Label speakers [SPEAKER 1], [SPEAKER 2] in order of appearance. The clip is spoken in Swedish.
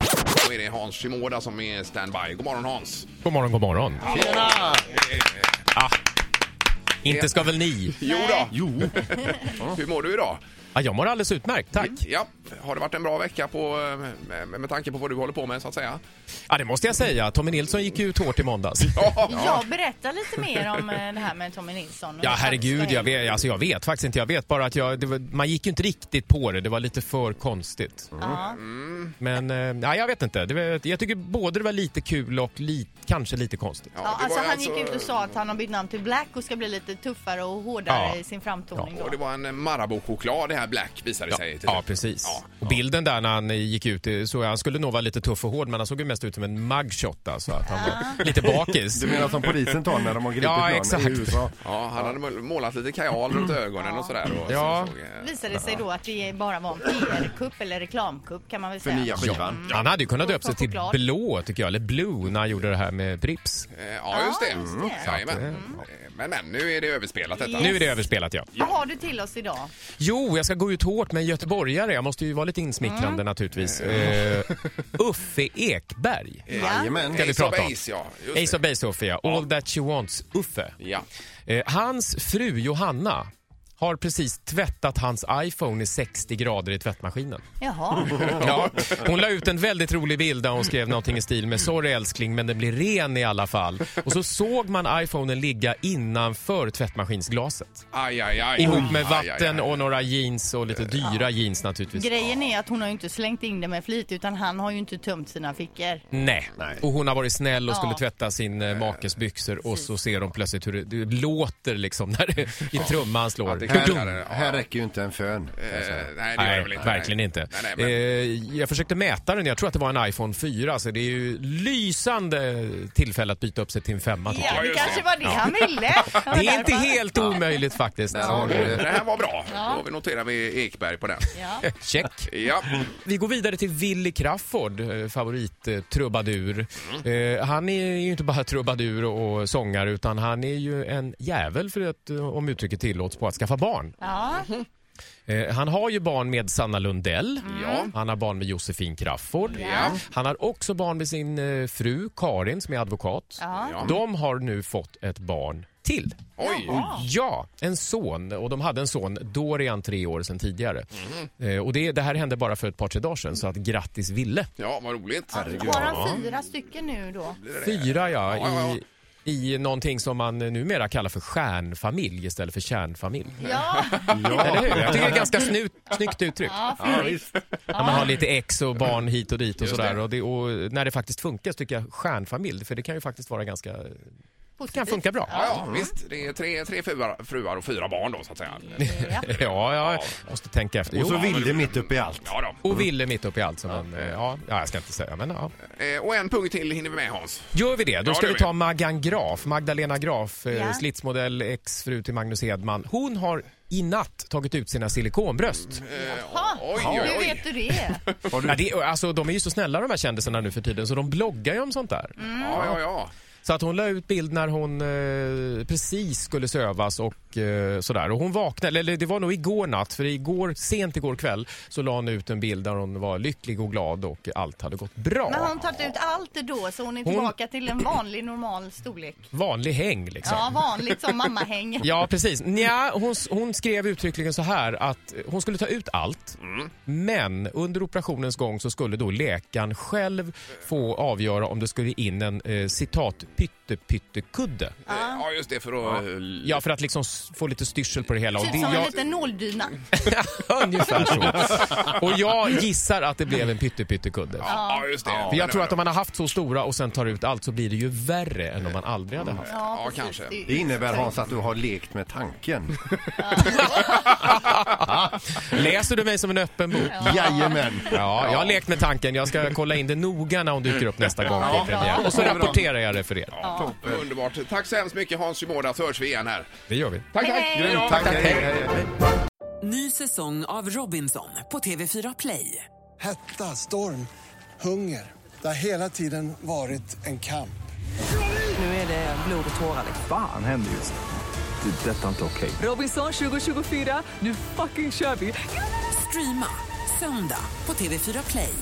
[SPEAKER 1] idag är det Hans Shimoda som är standby. God morgon Hans!
[SPEAKER 2] God morgon, god morgon.
[SPEAKER 3] Tjena!
[SPEAKER 2] Ah, inte ska väl ni?
[SPEAKER 1] Jo då.
[SPEAKER 2] Jo.
[SPEAKER 1] Hur mår du idag?
[SPEAKER 2] Ah, jag mår alldeles utmärkt, tack.
[SPEAKER 1] Ja, har det varit en bra vecka på, eh, med, med tanke på vad du håller på med så att säga?
[SPEAKER 2] Ah, det måste jag säga. Tommy Nilsson gick ju ut hårt i måndags.
[SPEAKER 1] Ja,
[SPEAKER 3] Ja, berätta lite mer om eh, det här med Tommy Nilsson. och
[SPEAKER 2] Ja,
[SPEAKER 3] den
[SPEAKER 2] herregud.
[SPEAKER 3] franska
[SPEAKER 2] Jag vet, alltså jag vet faktiskt inte. Jag vet bara att jag, det var, man gick ju inte riktigt på det. Det var lite för konstigt.
[SPEAKER 1] Mm.
[SPEAKER 3] Ja.
[SPEAKER 2] Mm. Men eh, nej, jag vet inte. Det var, jag tycker både det var lite kul och li, kanske lite konstigt.
[SPEAKER 1] det
[SPEAKER 3] Ja,
[SPEAKER 1] var
[SPEAKER 3] alltså
[SPEAKER 1] ju
[SPEAKER 3] han gick ut och sa att han har bytt namn till Black och ska bli lite tuffare och hårdare
[SPEAKER 2] Ja.
[SPEAKER 3] i sin framtoning
[SPEAKER 1] Och det
[SPEAKER 3] då.
[SPEAKER 1] var en Marabou-choklad det här Black visade
[SPEAKER 2] Ja,
[SPEAKER 1] sig till
[SPEAKER 2] ja
[SPEAKER 1] slut.
[SPEAKER 2] precis.
[SPEAKER 1] Ja,
[SPEAKER 2] Och bilden där när han gick ut, eh, så han skulle nog vara lite tuff och hård men han såg ju mest ut som en mugshot alltså. Att han var lite bakis.
[SPEAKER 4] Du menar som polisen tar när de har gripit
[SPEAKER 2] Ja,
[SPEAKER 4] någon
[SPEAKER 2] exakt.
[SPEAKER 4] i USA?
[SPEAKER 1] Ja, han hade mål- målat lite kajal runt ögonen och sådär. Och så
[SPEAKER 2] Ja.
[SPEAKER 1] såg, eh,
[SPEAKER 3] Visade det sig då att det bara var en PR-kupp eller reklamkupp kan man väl
[SPEAKER 4] För
[SPEAKER 3] säga.
[SPEAKER 4] nya skivan.
[SPEAKER 2] Han hade ju kunnat
[SPEAKER 3] Och
[SPEAKER 2] döpt sig till
[SPEAKER 3] choklad.
[SPEAKER 2] blå tycker jag, eller blue när han gjorde det här med Pripps.
[SPEAKER 1] eh, ja, just det.
[SPEAKER 3] Ja, just det.
[SPEAKER 1] Mm. Jajamän. Eh, Men, men nu är det överspelat detta.
[SPEAKER 3] Yes.
[SPEAKER 2] Nu är det överspelat ja.
[SPEAKER 3] Vad har du till oss idag?
[SPEAKER 2] Jo, jag ska gå ut hårt med en göteborgare. Jag måste ju vara lite insmickrande
[SPEAKER 3] Mm.
[SPEAKER 2] naturligtvis. Eh, Uffe Ekberg.
[SPEAKER 4] Jajamän.
[SPEAKER 2] Ska vi
[SPEAKER 1] Ace of
[SPEAKER 2] prata om?
[SPEAKER 1] Base, ja. Just
[SPEAKER 2] Ace of Base Uffe ja. All That She Wants Uffe.
[SPEAKER 1] det. Ja.
[SPEAKER 2] Eh, hans fru Johanna har precis tvättat hans iPhone i 60 grader i tvättmaskinen.
[SPEAKER 3] Jaha.
[SPEAKER 2] Ja, hon la ut en väldigt rolig bild där hon skrev någonting i stil med “Sorry älskling, men den blir ren i alla fall”. Och så såg man iPhonen ligga innanför tvättmaskinsglaset.
[SPEAKER 1] Aj, aj, aj.
[SPEAKER 2] Ihop med
[SPEAKER 1] Aj, aj, aj.
[SPEAKER 2] vatten och några jeans och lite dyra jeans naturligtvis.
[SPEAKER 3] Grejen är att hon har ju inte slängt in det med flit utan han har ju inte tömt sina fickor.
[SPEAKER 2] Nej.
[SPEAKER 4] Nej.
[SPEAKER 2] och hon har varit snäll och skulle
[SPEAKER 3] Ja.
[SPEAKER 2] tvätta sin eh, makes byxor och så ser de plötsligt hur det, det låter liksom när det, i trumman slår.
[SPEAKER 1] det kan-
[SPEAKER 2] Dudum.
[SPEAKER 4] Här, här räcker ju inte en fön.
[SPEAKER 1] Eh, nej, det gör det
[SPEAKER 2] Alltså, Nej,
[SPEAKER 1] väl inte.
[SPEAKER 2] verkligen
[SPEAKER 1] nej.
[SPEAKER 2] inte.
[SPEAKER 1] Nej, nej, men,
[SPEAKER 2] eh, jag försökte mäta den, jag tror att det var en iPhone 4, så det är ju lysande tillfälle att byta upp sig till en femma. tycker
[SPEAKER 1] just
[SPEAKER 3] Ja, det
[SPEAKER 1] det.
[SPEAKER 3] kanske var det han ville.
[SPEAKER 2] jag. Det är inte helt omöjligt faktiskt.
[SPEAKER 4] Där har du
[SPEAKER 1] det
[SPEAKER 4] det.
[SPEAKER 1] här var bra. Då vi noterar vi Ekberg på den.
[SPEAKER 3] Ja.
[SPEAKER 2] Check.
[SPEAKER 1] Ja,
[SPEAKER 2] Vi går vidare till Willy Crawford, eh, favorittrubadur. Eh, han är ju inte bara trubadur och och sångare utan han är ju en jävel, för att, eh, om uttrycket tillåts, på att skaffa barn.
[SPEAKER 3] Ja.
[SPEAKER 2] Eh, han har ju barn med Sanna Lundell.
[SPEAKER 1] Ja.
[SPEAKER 2] Han har barn med Josefin Crawford.
[SPEAKER 1] Ja.
[SPEAKER 2] Han har också barn med sin eh, fru Karin som är advokat.
[SPEAKER 3] Ja.
[SPEAKER 1] Ja.
[SPEAKER 2] De har nu fått ett barn till.
[SPEAKER 1] oj.
[SPEAKER 2] Ja, en son. Och de hade en son. Då är han tre år sedan tidigare. Eh, och det, det här hände bara för ett par, tre dagar sedan. Så att grattis Ville.
[SPEAKER 1] Ja, vad roligt.
[SPEAKER 3] Har han fyra stycken nu då?
[SPEAKER 2] Fyra ja,
[SPEAKER 1] Ja,
[SPEAKER 2] i, i någonting som man numera kallar för stjärnfamilj istället för kärnfamilj.
[SPEAKER 3] Ja,
[SPEAKER 2] Eller hur? Jag tycker det är ganska snut, snyggt uttryck.
[SPEAKER 3] ja,
[SPEAKER 4] Ja,
[SPEAKER 3] Felix.
[SPEAKER 4] visst.
[SPEAKER 2] När man har lite ex och barn hit och dit och
[SPEAKER 1] Just
[SPEAKER 2] sådär.
[SPEAKER 1] det.
[SPEAKER 2] Och, det, och när det faktiskt funkar så tycker jag stjärnfamilj, för det kan ju faktiskt vara ganska... Det kan
[SPEAKER 3] Positivt.
[SPEAKER 2] funka bra.
[SPEAKER 1] Ja, ja, visst. Det är tre, tre fruar, fruar och fyra barn då, så att säga.
[SPEAKER 3] Ja.
[SPEAKER 2] Ja, jag måste tänka efter.
[SPEAKER 4] Och så
[SPEAKER 2] Jo.
[SPEAKER 4] Vilde mitt uppe i allt.
[SPEAKER 1] Ja, då.
[SPEAKER 2] Och Ville mitt upp i allt som man... eh, Ja, ja, jag ska inte säga, men ja.
[SPEAKER 1] Eh, Och en punkt till hinner vi med, Hans.
[SPEAKER 2] Gör vi det, då
[SPEAKER 1] Ja,
[SPEAKER 2] ska
[SPEAKER 1] det
[SPEAKER 2] vi
[SPEAKER 1] gör
[SPEAKER 2] ta Maggan Graf, Magdalena Graf, eh,
[SPEAKER 3] Ja.
[SPEAKER 2] slitsmodell, exfru till Magnus Hedman. Hon har i natt tagit ut sina silikonbröst.
[SPEAKER 1] Mm, eh,
[SPEAKER 3] Ha,
[SPEAKER 1] Oj, oj,
[SPEAKER 3] hur
[SPEAKER 1] oj.
[SPEAKER 3] vet du det?
[SPEAKER 2] Ja, det, alltså, de är ju så snälla de här kändisarna nu för tiden så de bloggar ju om sånt där.
[SPEAKER 3] Mm.
[SPEAKER 1] Ja, ja, ja.
[SPEAKER 2] Så att hon la ut bild när hon eh, precis skulle sövas och eh, sådär. Och hon vaknade, eller det var nog igår natt, för igår, sent igår kväll så la hon ut en bild där hon var lycklig och glad och allt hade gått bra.
[SPEAKER 3] Men har hon tagit ut allt då så hon är
[SPEAKER 2] Hon-
[SPEAKER 3] tillbaka till en vanlig normal storlek?
[SPEAKER 2] Vanlig häng liksom.
[SPEAKER 3] Ja, vanligt som mammahäng.
[SPEAKER 2] Ja, precis. Nja, hon, hon skrev uttryckligen så här att hon skulle ta ut allt, men under operationens gång så skulle då läkaren själv få avgöra om det skulle in en eh, citat pytte-pyttekudde.
[SPEAKER 1] Eh, Ja, just det, för att... eh,
[SPEAKER 2] Ja, för att liksom s- få lite styrsel på det hela. Och
[SPEAKER 3] Typ
[SPEAKER 2] det,
[SPEAKER 3] som en
[SPEAKER 2] jag,
[SPEAKER 3] liten nåldyna.
[SPEAKER 2] ungefär så. Och jag gissar att det blev en pytte-pyttekudde.
[SPEAKER 1] Ja, just det.
[SPEAKER 2] För jag tror att om man har haft så stora och sen tar ut allt så blir det ju värre än om man aldrig hade haft.
[SPEAKER 1] Ja,
[SPEAKER 3] precis.
[SPEAKER 1] kanske.
[SPEAKER 3] är ju-
[SPEAKER 4] Det innebär Hans att du har lekt med tanken.
[SPEAKER 2] Läser du mig som en öppen bok?
[SPEAKER 4] Jajamän.
[SPEAKER 2] Ja, jag har lekt med tanken. Jag ska kolla in det noga när hon dyker upp nästa gång. på premiär. Och så rapporterar jag det för er.
[SPEAKER 1] Underbart. Tack så hemskt mycket, Hans Shimoda, så hörs vi igen här.
[SPEAKER 2] Det gör vi.
[SPEAKER 1] Tack, tack.
[SPEAKER 3] hej.
[SPEAKER 1] Grymt.
[SPEAKER 4] Tack, hej, hej, hej.
[SPEAKER 5] Ny säsong av Robinson på TV4 Play.
[SPEAKER 6] Hetta, storm, hunger. Det har hela tiden varit en kamp.
[SPEAKER 5] Nu är det blod och tårar. liksom.
[SPEAKER 7] Fan händer just nu. Det. är Detta är inte okej.
[SPEAKER 5] Robinson 2024, nu fucking kör vi! Streama söndag på TV4 Play.